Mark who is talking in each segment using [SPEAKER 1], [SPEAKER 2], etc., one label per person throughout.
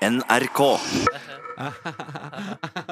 [SPEAKER 1] NRK.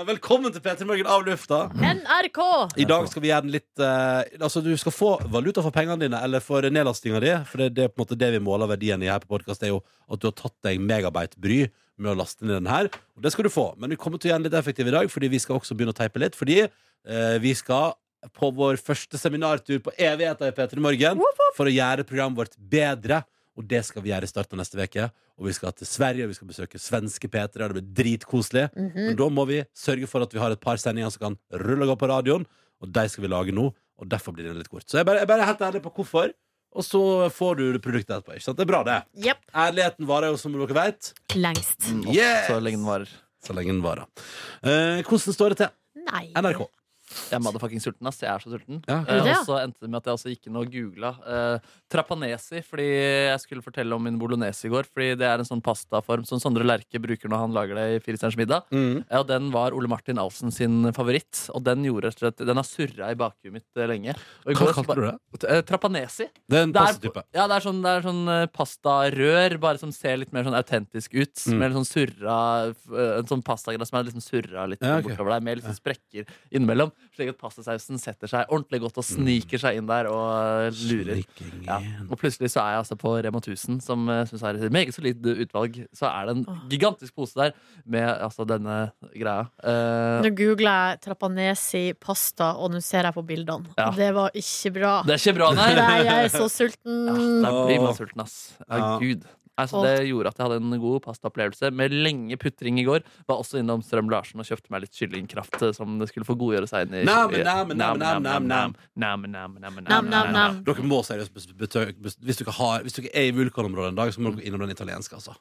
[SPEAKER 2] Velkommen til P3 Morgen av lufta.
[SPEAKER 3] NRK!
[SPEAKER 2] I dag skal vi gjøre den litt eh, Altså, du skal få valuta for pengene dine, eller for nedlastinga di. For det, det er på en måte det vi måler verdien i her på podkast, er jo at du har tatt deg megabyte bry med å laste ned den her. Og det skal du få. Men vi kommer til å gjøre den litt effektiv i dag, fordi vi skal også begynne å teipe litt. Fordi eh, vi skal på vår første seminartur på evigheta i P3 Morgen for å gjøre programmet vårt bedre. Og det skal vi gjøre i starten av neste uke. Og vi skal til Sverige, og vi skal besøke svenske P3. og Det blir dritkoselig. Men da må vi sørge for at vi har et par sendinger som kan rulle og gå på radioen. Og de skal vi lage nå, og derfor blir den litt kort. Så jeg bare, jeg bare er helt ærlig på hvorfor, og så får du det produktet etterpå. Ikke sant? Det er bra, det.
[SPEAKER 3] Jepp.
[SPEAKER 2] Ærligheten varer jo, som dere vet,
[SPEAKER 3] Lengst.
[SPEAKER 2] Yes!
[SPEAKER 4] Så lenge den varer.
[SPEAKER 2] så lenge den varer. Eh, hvordan står det til?
[SPEAKER 3] Nei.
[SPEAKER 2] NRK.
[SPEAKER 4] Jeg er motherfucking sulten, ass. Jeg er så sulten.
[SPEAKER 2] Ja,
[SPEAKER 4] Eh,
[SPEAKER 3] Ja.
[SPEAKER 4] og så endte det med at jeg også gikk inn og googla eh, trapanesi, fordi jeg skulle fortelle om min bolognese i går. Fordi det er en sånn pastaform som Sondre Lerche bruker når han lager det i Firestjerners middag.
[SPEAKER 2] Mm.
[SPEAKER 4] Ja, og den var Ole Martin Alsen sin favoritt, og den, gjorde, rett og slett- den har surra i bakhuet mitt eh, lenge. Og i
[SPEAKER 2] Hva
[SPEAKER 4] går så
[SPEAKER 2] kalte
[SPEAKER 4] ba-
[SPEAKER 2] du det?
[SPEAKER 4] Eh, Trapanesi.
[SPEAKER 2] Det er en
[SPEAKER 4] Det er,
[SPEAKER 2] pastatype.
[SPEAKER 4] ja, det er sånn, det er sånn eh, pastarør, bare som ser litt mer sånn autentisk ut.
[SPEAKER 2] Mm.
[SPEAKER 4] Med litt sånn surra eh, En sånn pastagras som er liksom surra litt
[SPEAKER 2] Ja, ok.
[SPEAKER 4] bortover der, med litt sånn sprekker innimellom. Slik at pastasausen setter seg ordentlig godt og
[SPEAKER 2] Mm.
[SPEAKER 4] sniker seg inn der og eh, lurer.
[SPEAKER 2] Sniking
[SPEAKER 4] Ja.
[SPEAKER 2] igjen.
[SPEAKER 4] Og plutselig så er jeg altså på Rema 1000, som uh, syns er et meget solid eh, utvalg. Så er det en gigantisk pose der med altså denne greia. Eh,
[SPEAKER 3] Nå googler jeg trapanesi pasta, og nå ser jeg på bildene.
[SPEAKER 4] Ja.
[SPEAKER 3] Det var ikke bra.
[SPEAKER 4] det er ikke bra, nei!
[SPEAKER 3] Nei, jeg er så
[SPEAKER 4] Ja,
[SPEAKER 3] sulten.
[SPEAKER 4] da blir man sulten, ass. Ja,
[SPEAKER 2] Ja.
[SPEAKER 4] Gud. Nei, så
[SPEAKER 3] Mm. Åh.
[SPEAKER 4] det gjorde at jeg hadde en god pastaopplevelse med lenge putring i går. Var også innom Strøm Larsen og kjøpte meg litt kyllingkraft eh, som det skulle få godgjøre seg inn i.
[SPEAKER 2] Nam,
[SPEAKER 4] i-
[SPEAKER 2] nam, nam, nam, nam, nam.
[SPEAKER 4] Nam, nam, nam, nam,
[SPEAKER 3] Nam, nam, nam.
[SPEAKER 2] Dere må seriøst bes- betø- bes- Hvis dere, har, hvis dere er i vulkanområdet en dag, så må dere innom den italienske, altså.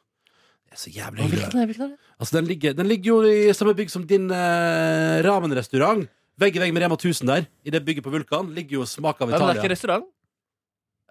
[SPEAKER 2] Det er så jævlig
[SPEAKER 4] Åh,
[SPEAKER 2] hyggelig.
[SPEAKER 4] Hvilken er hvilken er det?
[SPEAKER 2] Altså, den, ligger, den ligger jo i samme bygg som din eh, ramenrestaurant. Vegg i vegg med Rema 1000 der. I det bygget på Vulkan ligger jo Smak av
[SPEAKER 4] Ja, men det er
[SPEAKER 2] Italia.
[SPEAKER 4] ikke restaurant.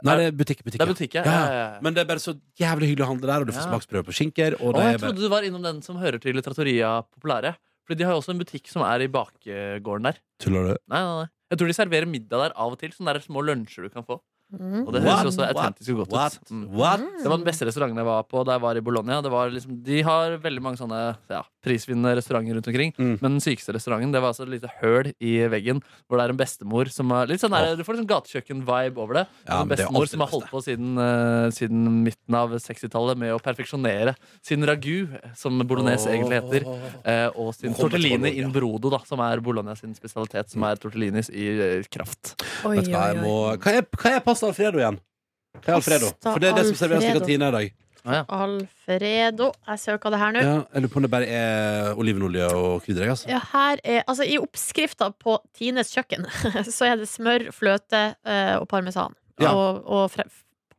[SPEAKER 2] Nei, det er butikk, butikk.
[SPEAKER 4] Det er butikk, ja.
[SPEAKER 2] Ja,
[SPEAKER 4] ja.
[SPEAKER 2] ja.
[SPEAKER 4] ja, ja.
[SPEAKER 2] Men det er bare så jævlig hyggelig å handle der, og du får
[SPEAKER 4] Ja.
[SPEAKER 2] smaksprøve på skinker. Og
[SPEAKER 4] Åh,
[SPEAKER 2] det er
[SPEAKER 4] jeg
[SPEAKER 2] bare...
[SPEAKER 4] trodde du var innom den som hører til Litteratoria Populære. Fordi de har jo også en butikk som er i bakgården der.
[SPEAKER 2] Tuller du?
[SPEAKER 4] Nei, nei, nei. Jeg tror de serverer middag der av og til. Sånne der små lunsjer du kan få.
[SPEAKER 3] Mm.
[SPEAKER 4] Og det høres jo også autentisk og godt
[SPEAKER 2] What?
[SPEAKER 4] ut. Mm.
[SPEAKER 2] What?
[SPEAKER 4] Det var den beste restauranten jeg var på da jeg var i Bologna. Det var liksom, de har veldig mange sånne ja, prisvinnende restauranter rundt omkring.
[SPEAKER 2] Mm.
[SPEAKER 4] Men den sykeste restauranten det var altså et lite høl i veggen hvor det er en bestemor som har litt sånn der, Du får litt sånn gatekjøkken-vibe over det.
[SPEAKER 2] Ja, men
[SPEAKER 4] en
[SPEAKER 2] det er
[SPEAKER 4] bestemor
[SPEAKER 2] alltid
[SPEAKER 4] som har
[SPEAKER 2] det
[SPEAKER 4] holdt på siden, eh, siden midten av 60-tallet med å perfeksjonere sin ragu, som bolognese egentlig heter. eh, og sin
[SPEAKER 2] Kommer til
[SPEAKER 4] tortellini
[SPEAKER 2] Bologna.
[SPEAKER 4] in brodo, da, som er Bologna sin spesialitet,
[SPEAKER 2] Mm.
[SPEAKER 4] som er tortellinis i eh, kraft.
[SPEAKER 3] Oi,
[SPEAKER 2] Vet du hva, jeg må... Hva er, hva er pasta alfredo igjen? Hva er alfredo?
[SPEAKER 3] Pasta
[SPEAKER 2] For det er det som serveres i
[SPEAKER 3] Alfredo.
[SPEAKER 2] kantina i dag.
[SPEAKER 3] Alfredo. Jeg søker det her nå.
[SPEAKER 2] Ja, jeg lurer på om det bare er olivenolje og krydder, jeg, altså.
[SPEAKER 3] Ja, her er, altså, I oppskrifta på Tines kjøkken så er det smør, fløte eh, og parmesan.
[SPEAKER 2] Ja.
[SPEAKER 3] Og, og fre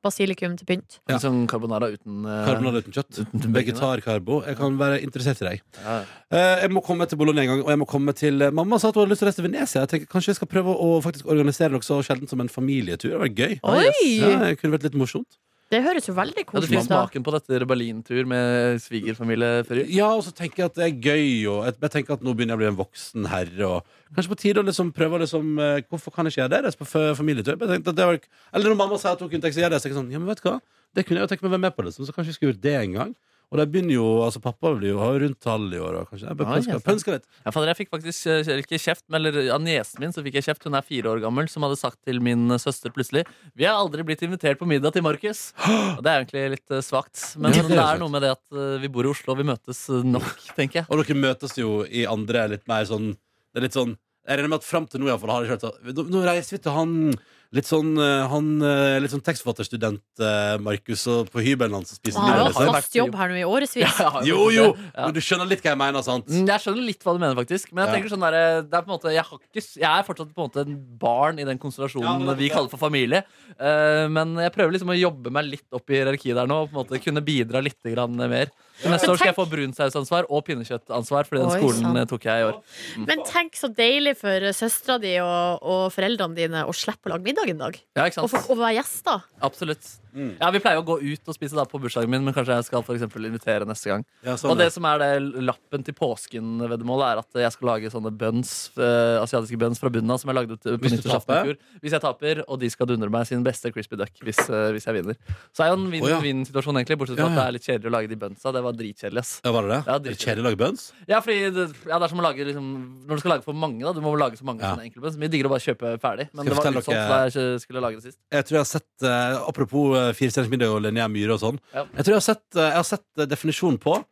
[SPEAKER 3] basilikum til pynt.
[SPEAKER 2] Ja.
[SPEAKER 4] Litt sånn carbonara uten eh,
[SPEAKER 2] Karbonade uten kjøtt.
[SPEAKER 4] uten bacon, da.
[SPEAKER 2] Vegetarkarbo. Jeg kan være interessert i deg.
[SPEAKER 4] ja.
[SPEAKER 2] Eh, Jeg må komme til Bologna en gang, og jeg må komme til eh, Mamma sa at hun hadde lyst til å reise til Venezia. Jeg tenker kanskje jeg skal prøve å faktisk organisere noe så sjeldent som en familietur. Det var gøy.
[SPEAKER 3] Oi!
[SPEAKER 2] Ja, det kunne vært litt morsomt.
[SPEAKER 3] Det høres jo veldig
[SPEAKER 4] Ja, du
[SPEAKER 3] koselig
[SPEAKER 4] fikk
[SPEAKER 3] ut. da
[SPEAKER 4] smaken på dette Berlin-tur med svigerfamilie før jul?
[SPEAKER 2] Ja, og så tenker jeg at det er gøy, og jeg jeg tenker at nå begynner jeg å bli en voksen herre, og kanskje på tide å liksom prøve å liksom eh, Hvorfor kan ikke jeg det? Reise på f- familietur? Jeg tenkte at det var, eller når mamma sier at hun kunne tenke seg å gjøre det, så tenker jeg sånn Ja, men vet du hva? Det kunne jeg jo tenkt meg å være med på, liksom, så kanskje jeg skulle gjort det en gang. Og de begynner jo, altså Pappa blir jo har jo rundt tallet i år. Og kanskje, jeg bør
[SPEAKER 4] Ja,
[SPEAKER 2] pønske,
[SPEAKER 4] jeg
[SPEAKER 2] pønske litt.
[SPEAKER 4] Ja, fader, jeg fikk faktisk eh, ikke kjeft, men eller, av niesen min så fikk jeg kjeft. Hun er fire år gammel, som hadde sagt til min eh, søster plutselig Vi har aldri blitt invitert på middag til Markus. Og det er egentlig litt eh, svakt. Men
[SPEAKER 2] Ja, det er
[SPEAKER 4] det
[SPEAKER 2] sant.
[SPEAKER 4] er noe med det at eh, vi bor i Oslo, og vi møtes eh, nok, tenker jeg.
[SPEAKER 2] Og dere møtes jo i andre litt mer sånn Det er litt sånn Jeg regner med at fram til nå i hvert fall har det ikke vært sånn Nå reiser vi til han Litt sånn, eh, han, eh, litt sånn tekstforfatterstudent eh, Markus og på hybelen hans og spiser
[SPEAKER 3] Han
[SPEAKER 2] middag
[SPEAKER 3] har jo
[SPEAKER 4] det
[SPEAKER 2] liksom.
[SPEAKER 3] hatt
[SPEAKER 4] har jo
[SPEAKER 3] fast
[SPEAKER 4] vært-
[SPEAKER 3] jobb her nå i årevis.
[SPEAKER 4] Ja, jeg har
[SPEAKER 2] Jo jo,
[SPEAKER 4] faktisk det. Ah, Ja.
[SPEAKER 2] men du skjønner litt hva jeg mener, sant?
[SPEAKER 4] Mm, Jeg skjønner litt hva du mener, faktisk. Men jeg
[SPEAKER 2] Ja.
[SPEAKER 4] tenker sånn der, det er på en måte, jeg, har ikke, s- jeg er fortsatt på en måte en barn i den
[SPEAKER 2] Ja,
[SPEAKER 4] konstellasjonen
[SPEAKER 2] men det er
[SPEAKER 4] vi
[SPEAKER 2] det.
[SPEAKER 4] kaller for familie. Eh, men jeg prøver liksom å jobbe meg litt opp i hierarkiet der nå. Og på en måte kunne bidra litt grann mer. Til neste
[SPEAKER 3] Men
[SPEAKER 4] år skal jeg
[SPEAKER 3] tenk-
[SPEAKER 4] få brunsausansvar og pinnekjøttansvar, Fordi
[SPEAKER 3] Oi,
[SPEAKER 4] den skolen
[SPEAKER 3] sant.
[SPEAKER 4] eh, tok jeg i år.
[SPEAKER 3] Men tenk så deilig for søstera di og, og foreldrene dine å slippe å lage middag en dag.
[SPEAKER 4] Ja, ikke
[SPEAKER 3] Og,
[SPEAKER 4] sant?
[SPEAKER 3] få- og være gjester.
[SPEAKER 4] Absolutt.
[SPEAKER 2] Mm.
[SPEAKER 4] Ja, Vi pleier jo å gå ut og spise da på bursdagen min, men kanskje jeg skal for eksempel invitere neste gang.
[SPEAKER 2] Ja, sånn,
[SPEAKER 4] og det som er det lappen til påsken-veddemålet, er at jeg skal lage sånne buns, eh, asiatiske buns fra bunnen av, som jeg lagde ut eh, på
[SPEAKER 2] Hvis du
[SPEAKER 4] nyttårsaften i fjor. Hvis jeg taper, og de skal dundre meg sin beste crispy duck hvis, eh, hvis jeg vinner. Så er jo en
[SPEAKER 2] Å, ja.
[SPEAKER 4] vinn-vinn-situasjon, egentlig, bortsett
[SPEAKER 2] Ja,
[SPEAKER 4] fra
[SPEAKER 2] ja.
[SPEAKER 4] at det er litt kjedelig å lage de bunsa. Det var dritkjedelig, ass.
[SPEAKER 2] ja, var det det?
[SPEAKER 4] Ja,
[SPEAKER 2] Er det kjedelig å lage buns?
[SPEAKER 4] Ja, fordi det, ja, det er som å lage liksom, Når du skal lage for mange, da. Du må lage så mange
[SPEAKER 2] Ja.
[SPEAKER 4] sånne enkeltbønner. Så mye diggere å bare kjøpe ferdig.
[SPEAKER 2] Skal jeg
[SPEAKER 4] Men det var
[SPEAKER 2] fortelle
[SPEAKER 4] litt sånn
[SPEAKER 2] dere-
[SPEAKER 4] da jeg ikke skulle lage det sist.
[SPEAKER 2] Jeg tror jeg har sett, eh, Apropos uh, firestjerners middag og Linnea Myhre og sånn.
[SPEAKER 4] Ja.
[SPEAKER 2] Jeg tror jeg har sett, eh, jeg har sett eh, definisjonen på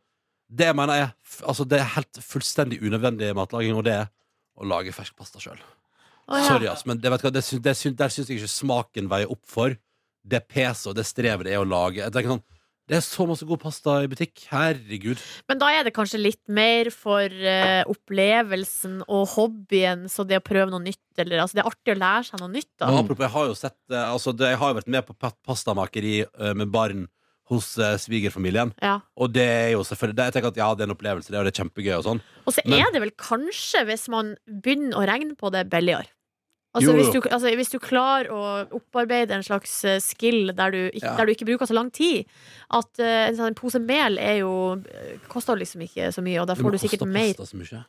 [SPEAKER 2] det jeg mener er f altså, Det er helt fullstendig unødvendig matlaging, og det er å lage fersk pasta sjøl.
[SPEAKER 3] Å, ja.
[SPEAKER 2] Sorry, ass, men det, vet du hva, det, sy- det, sy- der syns jeg ikke smaken veier opp for det peset og det strevet det er å lage. Jeg tenker sånn, Det er så masse god pasta i butikk. Herregud.
[SPEAKER 3] Men da er det kanskje litt mer for eh, opplevelsen og hobbyen, så det å prøve noe nytt, eller altså det er artig å lære seg noe nytt, da.
[SPEAKER 2] Men apropos, jeg har jo sett eh, altså, det, Jeg har jo vært med på pa- pastamakeri eh, med barn hos eh, svigerfamilien.
[SPEAKER 3] Ja.
[SPEAKER 2] Og det er jo selvfølgelig det, Jeg tenker at ja, det er en opplevelse, det, og det er kjempegøy og sånn.
[SPEAKER 3] Og så
[SPEAKER 2] Men-
[SPEAKER 3] er det vel kanskje, hvis man begynner å regne på det, billigere.
[SPEAKER 2] Jo,
[SPEAKER 3] Altså,
[SPEAKER 2] jo.
[SPEAKER 3] hvis, du, altså, hvis du klarer å opparbeide en slags eh, skill der du, ikke,
[SPEAKER 2] Ja.
[SPEAKER 3] der du ikke bruker så lang tid At eh, en sånn pose mel er jo, eh, koster liksom ikke så mye, og da
[SPEAKER 2] Men
[SPEAKER 3] får du sikkert
[SPEAKER 2] koster
[SPEAKER 3] mer
[SPEAKER 2] pasta så mye?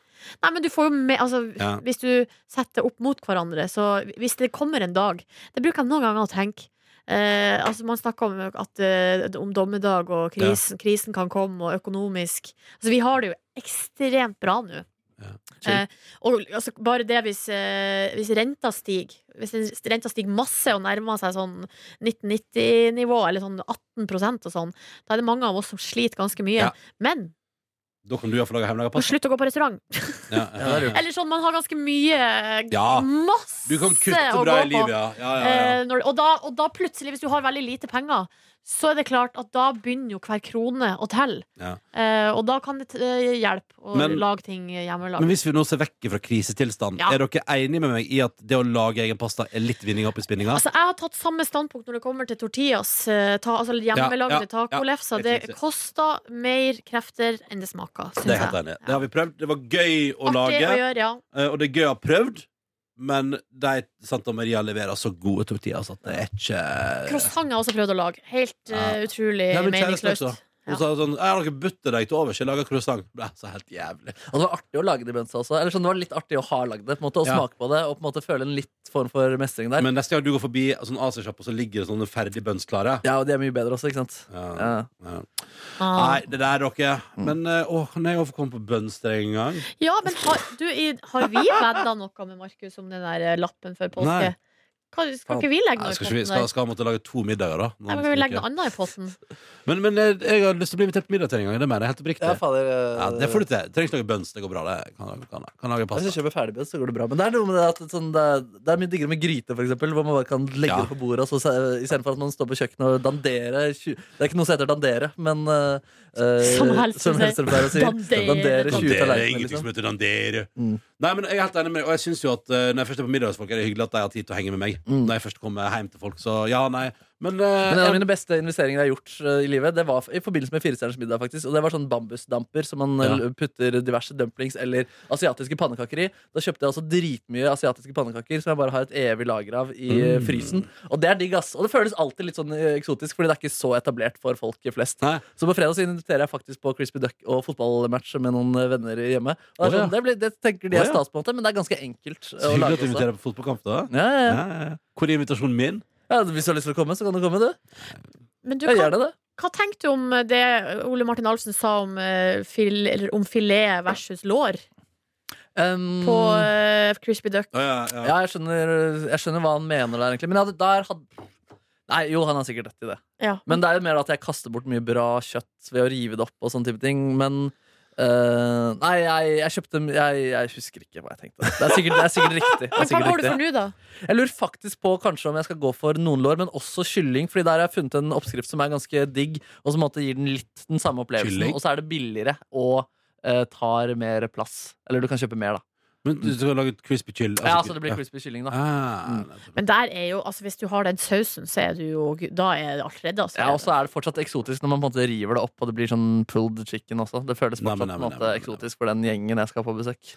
[SPEAKER 3] Nei, men du får jo med, altså,
[SPEAKER 2] Ja.
[SPEAKER 3] Hvis du setter opp mot hverandre Så hvis det kommer en dag Det bruker jeg noen ganger å tenke eh, altså man snakker om, at, eh, om dommedag Og krisen, krisen kan komme Og økonomisk altså, Vi har det jo ekstremt bra nå
[SPEAKER 4] Chill.
[SPEAKER 3] Eh, og altså, bare det hvis, eh, hvis renta stiger Hvis den- renta stiger masse og nærmer seg sånn 1990-nivå Eller sånn 18% og sånn Da er det mange av oss som sliter ganske mye
[SPEAKER 2] Ja.
[SPEAKER 3] Men,
[SPEAKER 2] Da kan du iallfall lage hjemmelaga
[SPEAKER 3] må
[SPEAKER 2] pasta.
[SPEAKER 3] slutte å gå på restaurant
[SPEAKER 2] Ja,
[SPEAKER 4] Ja, det er lurt.
[SPEAKER 3] eller sånn, man har ganske mye
[SPEAKER 2] Ja.
[SPEAKER 3] Masse
[SPEAKER 2] Du kan
[SPEAKER 3] å
[SPEAKER 2] kutte bra
[SPEAKER 3] gå
[SPEAKER 2] i livet,
[SPEAKER 3] på.
[SPEAKER 2] ja. ja, ja, ja.
[SPEAKER 3] Eh, når, og, da, og da plutselig, hvis du har veldig lite penger, så er det klart at da begynner jo hver krone å telle.
[SPEAKER 2] Ja.
[SPEAKER 3] Eh, og da kan det eh, hjelpe å
[SPEAKER 2] Men-
[SPEAKER 3] lage ting hjemmelaga.
[SPEAKER 2] Men hvis vi nå ser vekk fra krisetilstand,
[SPEAKER 3] Ja.
[SPEAKER 2] er dere enige med meg i at det å lage egen pasta er litt vinning opp i spinninga?
[SPEAKER 3] Altså, jeg har tatt samme standpunkt når det kommer til tortillas. eh, Ta, altså
[SPEAKER 2] Ja,
[SPEAKER 3] Hjemmelagde
[SPEAKER 2] ja, ja.
[SPEAKER 3] tacolefser.
[SPEAKER 2] Helt
[SPEAKER 3] Det
[SPEAKER 2] riktig.
[SPEAKER 3] koster mer krefter enn det smaker, syns
[SPEAKER 2] Det er jeg helt
[SPEAKER 3] jeg.
[SPEAKER 2] enig. i. Det har vi prøvd. Det var gøy å
[SPEAKER 3] Artig
[SPEAKER 2] lage,
[SPEAKER 3] å gjøre, ja.
[SPEAKER 2] eh, og det er gøy å ha prøvd. Men de Santa Maria leverer så gode tortillas at det er ikke
[SPEAKER 3] Croissant har jeg også prøvd å lage. Helt eh, utrolig
[SPEAKER 2] Ja, men kjæresten
[SPEAKER 3] meningsløst.
[SPEAKER 2] også. Hun sa sånn 'Jeg har noe butterdeig til overs. Jeg lager croissant.' Det er så helt jævlig.
[SPEAKER 4] Og Altså, det var artig å lage de bønsa også. Eller sånn, det var litt artig å ha lagd det. på en måte, Og
[SPEAKER 2] Ja.
[SPEAKER 4] smake på det, og på en måte føle en litt form for mestring der.
[SPEAKER 2] Men neste gang du går forbi sånn Asiasjappe, og så ligger det sånne ferdig bønnsklare
[SPEAKER 4] Ja, og de er mye bedre også, ikke sant. Ja. Mm.
[SPEAKER 2] ja. Ja.
[SPEAKER 3] Ah.
[SPEAKER 2] Nei, det der, dere. Men eh, å, kan jeg også få komme på bønnstreng en gang?
[SPEAKER 3] Ja, men har, du, i, har vi vedda noe med Markus om den der eh, lappen før påske?
[SPEAKER 2] Nei.
[SPEAKER 3] Hva, skal ikke vi legge
[SPEAKER 2] Nei,
[SPEAKER 3] noe i
[SPEAKER 2] skal, ikke vi,
[SPEAKER 3] potten
[SPEAKER 2] skal,
[SPEAKER 3] der?
[SPEAKER 2] skal han måtte lage to middager, da? Nå
[SPEAKER 3] Nei, men kan vi legge
[SPEAKER 2] skal
[SPEAKER 3] noe annet i potten?
[SPEAKER 2] ikke- Men, men jeg, jeg har lyst til å bli invitert på middag til en gang. Det mener jeg helt oppriktig.
[SPEAKER 4] Ja,
[SPEAKER 2] Ja,
[SPEAKER 4] fader. eh,
[SPEAKER 2] det får du altså. til. Trengs noe bønns. Det går bra. Det kan, kan, kan lage
[SPEAKER 4] Hvis du
[SPEAKER 2] pasta.
[SPEAKER 4] kjøper ferdigbønn, så går det bra. Men det er noe med det at sånn, det, er, det er mye diggere med gryte, for eksempel, hvor man bare kan legge
[SPEAKER 2] Ja.
[SPEAKER 4] det på bordet, og så, se- istedenfor at man står på kjøkkenet og dandere. tju- Det er ikke noe som heter dandere, men eh,
[SPEAKER 3] Som helst,
[SPEAKER 4] som helst det pleier å si.
[SPEAKER 3] Dandere.
[SPEAKER 4] Dandere 20
[SPEAKER 2] Dandere,
[SPEAKER 4] tallerkener,
[SPEAKER 2] ingenting som
[SPEAKER 4] liksom.
[SPEAKER 2] heter dandere.
[SPEAKER 4] Mm.
[SPEAKER 2] Nei, men jeg er helt enig med deg, og jeg syns jo at eh, når jeg først er på middagsfolk, er det hyggelig at de har tid til å henge med meg.
[SPEAKER 4] Mm.
[SPEAKER 2] Når jeg først kommer hjem til folk, så ja, nei. Men, eh,
[SPEAKER 4] Men en av mine beste investeringer jeg har gjort eh, i livet, det var f- i forbindelse med Firestjerners middag. faktisk Og det var sånn bambusdamper som man
[SPEAKER 2] Ja.
[SPEAKER 4] eh, putter diverse dumplings eller asiatiske pannekaker i. Da kjøpte jeg altså dritmye asiatiske pannekaker som jeg bare har et evig lager av i
[SPEAKER 2] Mm.
[SPEAKER 4] eh, frysen. Og det er digg, ass. Og det føles alltid litt sånn eh, eksotisk, fordi det er ikke så etablert for folk flest.
[SPEAKER 2] Nei.
[SPEAKER 4] Så på fredag så inviterer jeg faktisk på Crispy Duck og fotballmatch med noen eh, venner hjemme. Og det,
[SPEAKER 2] Å,
[SPEAKER 4] er
[SPEAKER 2] ja.
[SPEAKER 4] sånn, det, blir, det tenker de
[SPEAKER 2] Å,
[SPEAKER 4] er
[SPEAKER 2] ja.
[SPEAKER 4] stas på en måte, men det er ganske enkelt eh,
[SPEAKER 2] så
[SPEAKER 4] å
[SPEAKER 2] hyggelig
[SPEAKER 4] lage
[SPEAKER 2] at du
[SPEAKER 4] også.
[SPEAKER 2] inviterer på fotballkamp, da.
[SPEAKER 4] Ja, ja, ja.
[SPEAKER 2] Ja, ja. Hvor er invitasjonen min?
[SPEAKER 4] Ja, hvis du har lyst til å komme, så kan du komme, du.
[SPEAKER 3] Men du,
[SPEAKER 4] Ja,
[SPEAKER 3] hva,
[SPEAKER 4] gjerne det.
[SPEAKER 3] hva tenkte du om eh, det Ole Martin Alfsen sa om, eh, fil, eller om filet versus lår
[SPEAKER 4] Um,
[SPEAKER 3] på eh, Crispy Duck?
[SPEAKER 2] Å, ja, ja.
[SPEAKER 4] Ja, jeg skjønner, jeg skjønner hva han mener der, egentlig. Men jeg hadde, der hadde Nei, jo, han har sikkert rett i det.
[SPEAKER 3] Ja.
[SPEAKER 4] Men det er jo mer at jeg kaster bort mye bra kjøtt ved å rive det opp og sånne type ting. Men eh, Nei, jeg, jeg kjøpte jeg, jeg husker ikke hva jeg tenkte. Det er sikkert, det er sikkert riktig. Det
[SPEAKER 3] Men
[SPEAKER 4] er
[SPEAKER 3] hva
[SPEAKER 4] sikkert
[SPEAKER 3] går du
[SPEAKER 4] riktig.
[SPEAKER 3] for nå, da?
[SPEAKER 4] Jeg lurer faktisk på kanskje om jeg skal gå for noen lår, men også kylling. Fordi der har jeg funnet en oppskrift som er ganske digg, og som på en måte gir den litt den samme opplevelsen.
[SPEAKER 2] Kylling?
[SPEAKER 4] Og så er det billigere og eh, tar mer plass. Eller du kan kjøpe mer, da.
[SPEAKER 2] Men du skal lage et crispy chill?
[SPEAKER 4] Ja, så det blir crispy kylling, da. Mm.
[SPEAKER 2] Ah, nettopp.
[SPEAKER 3] Men der er jo, altså hvis du har den sausen, så er du jo Da er alt redd, altså.
[SPEAKER 4] Ja, og så er det fortsatt eksotisk når man på en måte river det opp og det blir sånn pulled chicken også. Det føles
[SPEAKER 2] Nei,
[SPEAKER 4] fortsatt
[SPEAKER 2] men, nei, men, nei,
[SPEAKER 4] på en måte
[SPEAKER 2] men, nei, men.
[SPEAKER 4] eksotisk for den gjengen jeg skal på besøk.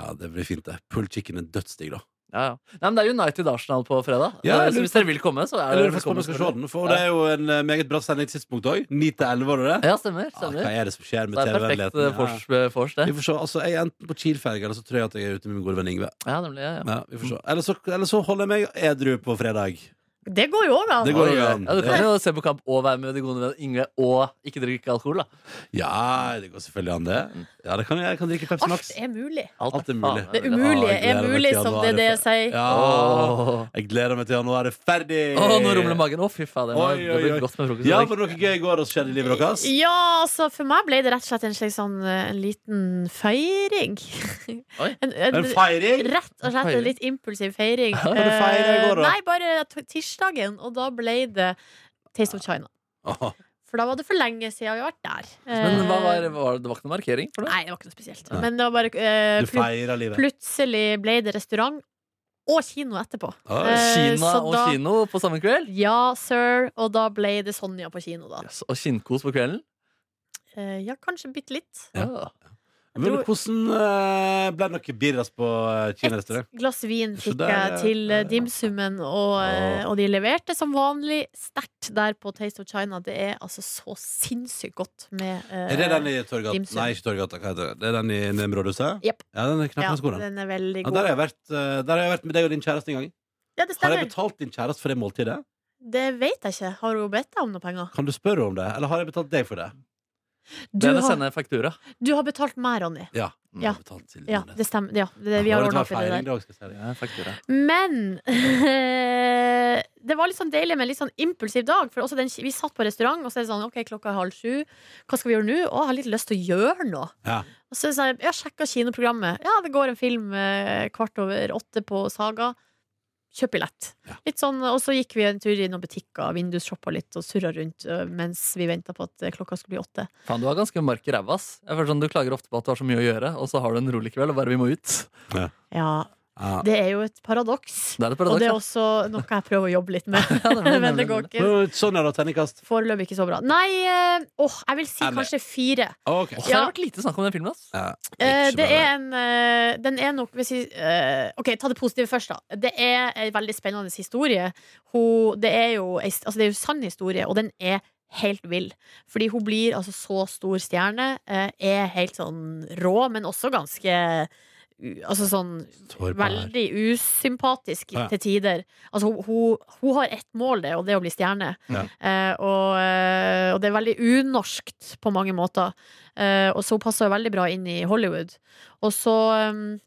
[SPEAKER 2] Ja, det blir fint det. Pulled chicken er dødsdigg, da.
[SPEAKER 4] Ja, ja. Nei, men Det er United Arsenal på fredag.
[SPEAKER 2] Ja,
[SPEAKER 4] Eh,
[SPEAKER 2] jeg
[SPEAKER 4] så
[SPEAKER 2] lurer
[SPEAKER 4] hvis dere vil komme, så er
[SPEAKER 2] Jeg
[SPEAKER 4] dere
[SPEAKER 2] lurer faktisk på om jeg skal se
[SPEAKER 4] selvfølgelig.
[SPEAKER 2] den, for det er jo en eh, meget bra sendingstidspunkt òg. 9 til 11, var det det?
[SPEAKER 4] Ja, stemmer.
[SPEAKER 2] Ah,
[SPEAKER 4] stemmer.
[SPEAKER 2] hva er det som skjer med
[SPEAKER 4] det er perfekt eh,
[SPEAKER 2] TV-vennligheten?
[SPEAKER 4] vors, eh, vors, det.
[SPEAKER 2] Vi får se. Altså, jeg er enten på Kiel-ferga, eller så tror jeg at jeg er ute med min gode venn Ingve.
[SPEAKER 4] Ja, nemlig, ja, ja.
[SPEAKER 2] Ja, vi får se. Eller, så, eller så holder jeg meg edru på fredag.
[SPEAKER 3] Det går jo òg an.
[SPEAKER 2] Det går
[SPEAKER 4] Oi,
[SPEAKER 2] jo
[SPEAKER 4] oi.
[SPEAKER 2] an.
[SPEAKER 4] eh, Ja, du kan jo se på kamp og være med de gode vennene Yngve og ikke drikke alkohol. da
[SPEAKER 2] Ja, det går selvfølgelig an, det. Ja, det kan, jeg Jeg kan drikke Pepsi Max.
[SPEAKER 3] Alt er mulig.
[SPEAKER 2] Alt er mulig.
[SPEAKER 4] faen
[SPEAKER 3] Det
[SPEAKER 4] mulig.
[SPEAKER 3] umulige
[SPEAKER 2] Ah, jeg
[SPEAKER 3] er
[SPEAKER 2] gleder meg
[SPEAKER 3] mulig,
[SPEAKER 2] til
[SPEAKER 3] som
[SPEAKER 2] januar
[SPEAKER 3] det er det jeg
[SPEAKER 2] for-
[SPEAKER 3] sier.
[SPEAKER 2] Ja.
[SPEAKER 4] Åh.
[SPEAKER 2] Jeg gleder meg til januar er ferdig!
[SPEAKER 4] Åh, nå rumler magen. Å, fy faen. Det, var,
[SPEAKER 2] Oi, oi,
[SPEAKER 4] det
[SPEAKER 2] oi.
[SPEAKER 4] blir godt med frokost. i
[SPEAKER 2] Ja,
[SPEAKER 4] dag.
[SPEAKER 2] var det noe gøy i går som skjedde i livet deres?
[SPEAKER 3] Ja, altså for meg ble det rett og slett en slags sånn eh, en liten feiring.
[SPEAKER 4] Oi.
[SPEAKER 3] en, en,
[SPEAKER 2] En feiring?
[SPEAKER 3] rett og slett en
[SPEAKER 4] Feiring.
[SPEAKER 3] litt impulsiv feiring.
[SPEAKER 2] Hva var det feiret i går, da?
[SPEAKER 3] Eh, Nei, bare t- tirsdagen, og da ble det Taste of China.
[SPEAKER 2] Åh,
[SPEAKER 3] For da var det for lenge siden jeg har vært der.
[SPEAKER 4] Men hva var,
[SPEAKER 3] Eh,
[SPEAKER 4] var det, det var ikke noe markering for det?
[SPEAKER 3] Nei, det var ikke noe spesielt.
[SPEAKER 2] Nei.
[SPEAKER 3] Men det var bare eh,
[SPEAKER 2] Du
[SPEAKER 3] plut
[SPEAKER 2] feirer livet.
[SPEAKER 3] Plutselig ble det restaurant og kino etterpå.
[SPEAKER 2] Oi.
[SPEAKER 3] Eh,
[SPEAKER 4] Kina
[SPEAKER 3] så
[SPEAKER 4] og
[SPEAKER 3] da-
[SPEAKER 4] kino på samme kveld?
[SPEAKER 3] Ja, sir. Og da ble det Sonja på kino, da.
[SPEAKER 4] Yes, og kinnkos på kvelden?
[SPEAKER 3] Eh, ja, kanskje bitte litt.
[SPEAKER 2] Ja.
[SPEAKER 4] Ja.
[SPEAKER 2] Men hvordan eh, ble dere birras på eh,
[SPEAKER 3] Et
[SPEAKER 2] kinarestaurant?
[SPEAKER 3] glass vin
[SPEAKER 2] Så
[SPEAKER 3] fikk
[SPEAKER 2] der, ja.
[SPEAKER 3] jeg til
[SPEAKER 2] Ja,
[SPEAKER 3] eh,
[SPEAKER 2] ja.
[SPEAKER 3] dimsummen, og, eh, og de leverte som vanlig sterkt der på Taste of China. Det er altså så sinnssykt godt med eh,
[SPEAKER 2] Er det den i Torgata?
[SPEAKER 3] Dimsum.
[SPEAKER 2] Nei, ikke Torgata. Hva heter det? Det er den i Nemrådhuset?
[SPEAKER 3] Jepp.
[SPEAKER 2] Ja, den er
[SPEAKER 3] ja,
[SPEAKER 2] knappen god, den.
[SPEAKER 3] den er veldig
[SPEAKER 2] Ja,
[SPEAKER 3] god.
[SPEAKER 2] der, har jeg vært, eh, der har jeg vært med deg og din kjæreste en gang.
[SPEAKER 3] Ja,
[SPEAKER 2] Har
[SPEAKER 3] det
[SPEAKER 2] jeg
[SPEAKER 3] stemmer.
[SPEAKER 2] betalt din kjæreste for det måltidet?
[SPEAKER 3] Det vet jeg ikke. Har hun bedt deg om noen penger?
[SPEAKER 2] Kan du spørre om det? Eller har jeg betalt deg for det?
[SPEAKER 3] Du
[SPEAKER 4] Det er å
[SPEAKER 3] har,
[SPEAKER 4] sende faktura.
[SPEAKER 3] du har betalt meg, Ronny.
[SPEAKER 2] Ja.
[SPEAKER 3] Ja.
[SPEAKER 2] Jeg har betalt til
[SPEAKER 3] Ja,
[SPEAKER 2] din.
[SPEAKER 3] det stemmer. Ja, det, vi har
[SPEAKER 2] det var
[SPEAKER 3] ordna
[SPEAKER 2] litt
[SPEAKER 3] opp i det
[SPEAKER 2] feiring
[SPEAKER 3] der.
[SPEAKER 2] i dag, skal jeg si deg.
[SPEAKER 4] Ja, faktura.
[SPEAKER 3] Men det var litt sånn deilig med en litt sånn impulsiv dag. For også den, vi satt på restaurant, og så er det sånn OK, klokka er halv sju. Hva skal vi gjøre nå? Å, jeg har litt lyst til å gjøre noe.
[SPEAKER 2] Ja.
[SPEAKER 3] Og så sa jeg, jeg sjekka kinoprogrammet. Ja, det går en film eh, kvart over åtte på Saga. Kjøp billett.
[SPEAKER 2] Ja.
[SPEAKER 3] Litt sånn, og så gikk vi en tur i noen butikker, vindusshoppa litt og surra rundt eh, mens vi venta på at eh, klokka skulle bli åtte.
[SPEAKER 4] Faen, du har ganske mark i ræva. ass. Jeg føler Sånn, du klager ofte på at du har så mye å gjøre, og så har du en rolig kveld og bare 'vi må ut'.
[SPEAKER 3] Ja,
[SPEAKER 2] Ja.
[SPEAKER 3] det er jo et paradoks.
[SPEAKER 4] Det er et
[SPEAKER 3] Og
[SPEAKER 4] paradoks.
[SPEAKER 3] det er
[SPEAKER 4] ja.
[SPEAKER 3] også noe jeg prøver å jobbe litt med.
[SPEAKER 4] Ja,
[SPEAKER 3] Men
[SPEAKER 4] det blir
[SPEAKER 3] det
[SPEAKER 4] nemlig-
[SPEAKER 3] går ikke.
[SPEAKER 2] Men Sånn er det terningkast.
[SPEAKER 3] Foreløpig ikke så bra. Nei, eh, åh, jeg vil si
[SPEAKER 2] Eller-
[SPEAKER 3] kanskje fire.
[SPEAKER 2] Ok.
[SPEAKER 4] Åh, Det har vært lite snakk om den filmen. ass.
[SPEAKER 2] Ja,
[SPEAKER 3] Eh,
[SPEAKER 2] ikke
[SPEAKER 3] det
[SPEAKER 2] bra,
[SPEAKER 3] er en eh, Den er nok hvis jeg, eh, OK, ta det positive først, da. Det er en veldig spennende historie. Hun, det er jo ei- altså, det er jo en sann historie, og den er helt vill. Fordi hun blir altså så stor stjerne. eh, er helt sånn rå, men også ganske u- Altså sånn
[SPEAKER 2] Sårbar.
[SPEAKER 3] veldig usympatisk
[SPEAKER 2] Ja.
[SPEAKER 3] til tider. Altså, hun, hun, hun har ett mål, det, og det er å bli stjerne.
[SPEAKER 2] Ja.
[SPEAKER 3] Eh, og, eh, og det er veldig unorskt på mange måter. Eh, og så hun passer jo veldig bra inn i Hollywood. Og så um,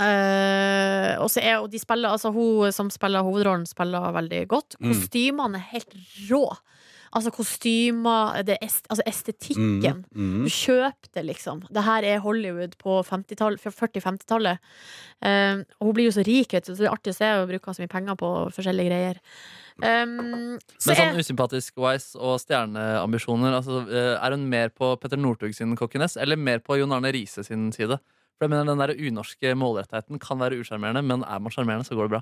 [SPEAKER 3] eh, og så er og de spiller, altså Hun som spiller hovedrollen, spiller veldig godt.
[SPEAKER 2] Mm.
[SPEAKER 3] Kostymene er helt rå. Altså kostymer, det er est, altså estetikken.
[SPEAKER 2] Mm,
[SPEAKER 3] Du kjøper det, liksom. Det her er Hollywood på 50-tall- fra 40-50-tallet. Eh, og hun blir jo så rik, vet du, så det er artig å se henne bruke så mye penger på forskjellige greier. Um, så
[SPEAKER 4] Men sånn
[SPEAKER 3] jeg,
[SPEAKER 4] usympatisk wise og stjerneambisjoner, altså, eh, er hun mer på Petter Northug sin kokkenes, eller mer på Jon Arne Riise sin side? For jeg mener Den der unorske målrettheten kan være usjarmerende, men er man sjarmerende, så går det bra.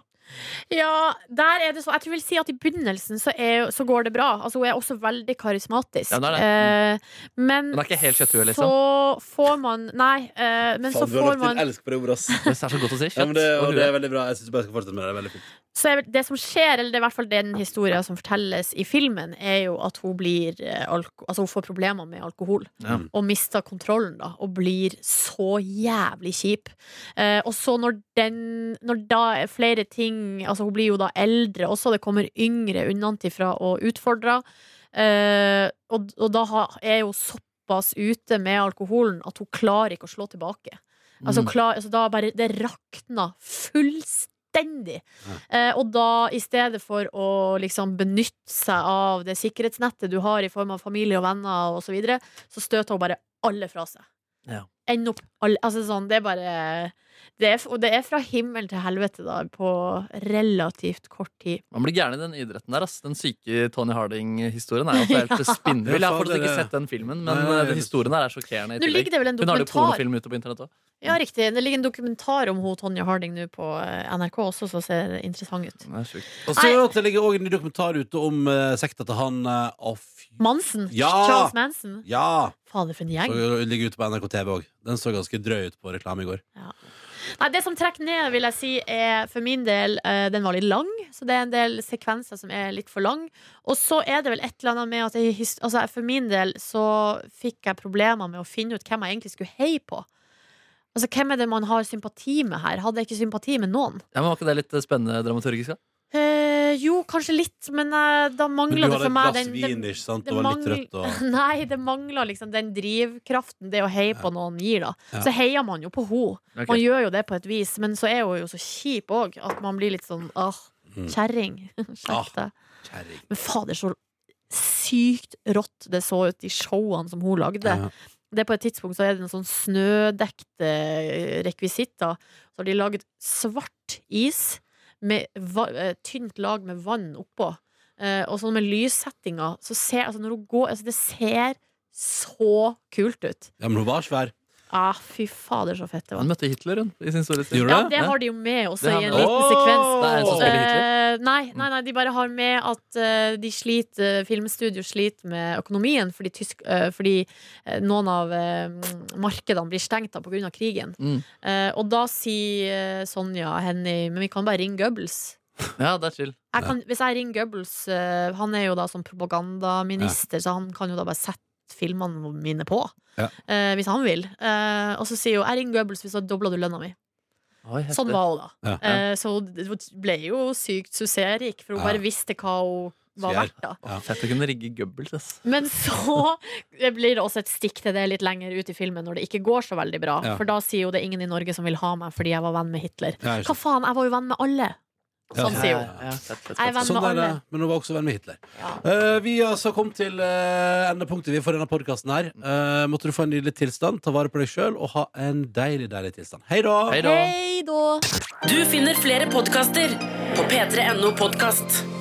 [SPEAKER 3] ja, der er det så Jeg tror jeg vil si at i begynnelsen så, er, så går det bra. Altså, hun er også veldig karismatisk.
[SPEAKER 4] Ja, det er det.
[SPEAKER 3] Eh, men
[SPEAKER 4] Hun er ikke helt kjøtthue, liksom.
[SPEAKER 3] så får man Nei, eh, men så
[SPEAKER 2] Faen, du har
[SPEAKER 3] får
[SPEAKER 2] lagt
[SPEAKER 3] man
[SPEAKER 2] inn elsk på det ordet, ass.
[SPEAKER 4] Det er så godt å si.
[SPEAKER 2] Ja, men
[SPEAKER 4] Kjøtt
[SPEAKER 2] det,
[SPEAKER 4] og
[SPEAKER 2] og det
[SPEAKER 4] hue.
[SPEAKER 2] er veldig bra. Jeg synes bare jeg skal fortsette med det. det er veldig fint.
[SPEAKER 3] Så er vel- det som skjer, eller det er i hvert fall den historien som fortelles i filmen, er jo at hun blir eh, alko Altså hun får problemer med alkohol.
[SPEAKER 4] Ja.
[SPEAKER 3] Og mister kontrollen, da. Og blir så jævlig kjip. Eh, og så når den Når da er flere ting Altså hun blir jo da eldre også, det kommer yngre unnantifra og utfordrer. Eh, og, og da ha, er hun såpass ute med alkoholen at hun klarer ikke å slå tilbake. Altså,
[SPEAKER 4] Mm.
[SPEAKER 3] klar, altså da bare Det rakna fullstendig. Eh, og da, i stedet for å liksom benytte seg av det sikkerhetsnettet du har i form av familie og venner osv., så, videre, så støter hun bare alle fra seg.
[SPEAKER 4] Ja.
[SPEAKER 3] Ender opp alle Altså sånn, det er bare det er, Og det er fra himmel til helvete, da, på relativt kort tid.
[SPEAKER 4] Man blir gæren i den idretten der. Ass. Den syke Tony Harding-historien er jo også helt
[SPEAKER 3] Ja.
[SPEAKER 4] spinnvill. Jeg har fortsatt
[SPEAKER 2] Ja,
[SPEAKER 4] ikke
[SPEAKER 2] faen, det-
[SPEAKER 4] sett den filmen, men
[SPEAKER 2] Nei, nei,
[SPEAKER 4] eh,
[SPEAKER 2] det-
[SPEAKER 4] den historien der er sjokkerende.
[SPEAKER 3] Nå
[SPEAKER 4] i tillegg.
[SPEAKER 3] ligger det vel en
[SPEAKER 4] Hun har jo
[SPEAKER 3] dokumentar
[SPEAKER 4] pornofilm ute på internett òg.
[SPEAKER 3] Ja, riktig. Det ligger en dokumentar om hun, Tonje Harding nå på eh, NRK også, som ser interessant ut.
[SPEAKER 2] Og så at det ligger også en ny dokumentar ute om eh, sekta til han eh, Å, fy
[SPEAKER 3] Mansen.
[SPEAKER 2] Ja!
[SPEAKER 3] Charles Manson.
[SPEAKER 2] Ja!
[SPEAKER 3] Fader, for en gjeng.
[SPEAKER 2] Så ligger ute på NRK TV òg. Den så ganske drøy ut på reklame i går.
[SPEAKER 3] Nei, det som trekker ned, vil jeg si, er for min del eh, Den var litt lang, så det er en del sekvenser som er litt for lang. Og så er det vel et eller annet med at jeg, his- altså, For min del så fikk jeg problemer med å finne ut hvem jeg egentlig skulle heie på. Altså, Hvem er det man har sympati med her? Hadde jeg ikke sympati med noen?
[SPEAKER 4] Ja, men Var ikke det litt eh, spennende dramaturgisk? da?
[SPEAKER 3] Eh, jo, kanskje litt, men eh, da
[SPEAKER 2] Men
[SPEAKER 3] mangla
[SPEAKER 2] du hadde
[SPEAKER 3] det for
[SPEAKER 2] et
[SPEAKER 3] meg
[SPEAKER 2] glass
[SPEAKER 3] den- den-
[SPEAKER 2] vin, ikke sant?
[SPEAKER 3] det
[SPEAKER 2] Og var litt
[SPEAKER 3] mangl-
[SPEAKER 2] trøtt og
[SPEAKER 3] Nei, det mangler liksom den drivkraften det å heie på noen gir, da.
[SPEAKER 2] Ja.
[SPEAKER 3] Så heier man jo på henne.
[SPEAKER 4] Ok.
[SPEAKER 3] Man gjør jo det på et vis, men så er hun jo så kjip òg at man blir litt sånn ah,
[SPEAKER 2] Mm.
[SPEAKER 3] kjerring.
[SPEAKER 2] Ah.
[SPEAKER 3] Skjerp deg.
[SPEAKER 2] kjerring.
[SPEAKER 3] Men fader, så sykt rått det så ut i showene som hun lagde.
[SPEAKER 2] Ja.
[SPEAKER 3] Det er På et tidspunkt så er det noen sånn snødekte eh, rekvisitter. Så har de laget svart is med va eh, tynt lag med vann oppå. Eh, og sånn med lyssettinga, så ser altså når hun går altså Det ser så kult ut.
[SPEAKER 2] ja, men hun var svær.
[SPEAKER 3] Ah, fy fader, så fett det var.
[SPEAKER 4] Han møtte Hitler hun, i sin store tid.
[SPEAKER 2] Gjorde
[SPEAKER 3] Ja,
[SPEAKER 2] du
[SPEAKER 3] det har de jo med også
[SPEAKER 4] Det har
[SPEAKER 3] i en
[SPEAKER 4] de.
[SPEAKER 3] liten sekvens.
[SPEAKER 4] Det er en som spiller Hitler.
[SPEAKER 3] Eh, nei, nei, nei, de bare har med at eh, de sliter, filmstudio sliter med økonomien fordi, tysk, eh, fordi eh, noen av eh, markedene blir stengt av pga. krigen.
[SPEAKER 4] Mm.
[SPEAKER 3] Eh, og da sier eh, Sonja Henny Men vi kan bare ringe Goebbels.
[SPEAKER 4] Ja, det er chill.
[SPEAKER 3] Jeg kan, hvis jeg ringer Goebbels eh, Han er jo da som propagandaminister, så han kan jo da bare sette filmene mine på.
[SPEAKER 2] Ja.
[SPEAKER 3] eh, hvis han vil. Eh, og så sier hun 'jeg ringer Goebbels hvis da dobler du lønna mi'.
[SPEAKER 4] Oi, heftig.
[SPEAKER 3] Sånn var hun, da.
[SPEAKER 2] Ja.
[SPEAKER 3] Eh, så hun ble jo sykt suksessrik, for hun
[SPEAKER 2] Ja.
[SPEAKER 3] bare visste hva hun var
[SPEAKER 2] Sier.
[SPEAKER 3] verdt. da
[SPEAKER 4] Å, Fett å kunne rigge Goebbels, ass.
[SPEAKER 3] men så det blir det også et stikk til det litt lenger ut i filmen når det ikke går så veldig bra.
[SPEAKER 2] Ja.
[SPEAKER 3] For da sier jo det er ingen i Norge som vil ha meg fordi jeg var venn med Hitler.
[SPEAKER 2] Ja, ikke
[SPEAKER 3] Hva faen, jeg var jo venn med alle!
[SPEAKER 2] Ja.
[SPEAKER 3] Sånn sier hun.
[SPEAKER 4] Ja, ja, fett, fett,
[SPEAKER 3] Jeg er
[SPEAKER 4] fett.
[SPEAKER 3] venn
[SPEAKER 2] Sånn
[SPEAKER 3] med
[SPEAKER 2] der,
[SPEAKER 3] alle.
[SPEAKER 2] eh, men hun var også venn med Hitler.
[SPEAKER 3] Ja.
[SPEAKER 2] Eh, vi har altså kommet til eh, endepunktet vi for denne podkasten her. Eh, måtte du få en nydelig tilstand, ta vare på deg sjøl og ha en deilig, deilig tilstand. eh, Hei da!
[SPEAKER 4] Hei da.
[SPEAKER 3] Hei da!
[SPEAKER 1] Du finner flere podkaster på p3.no podkast.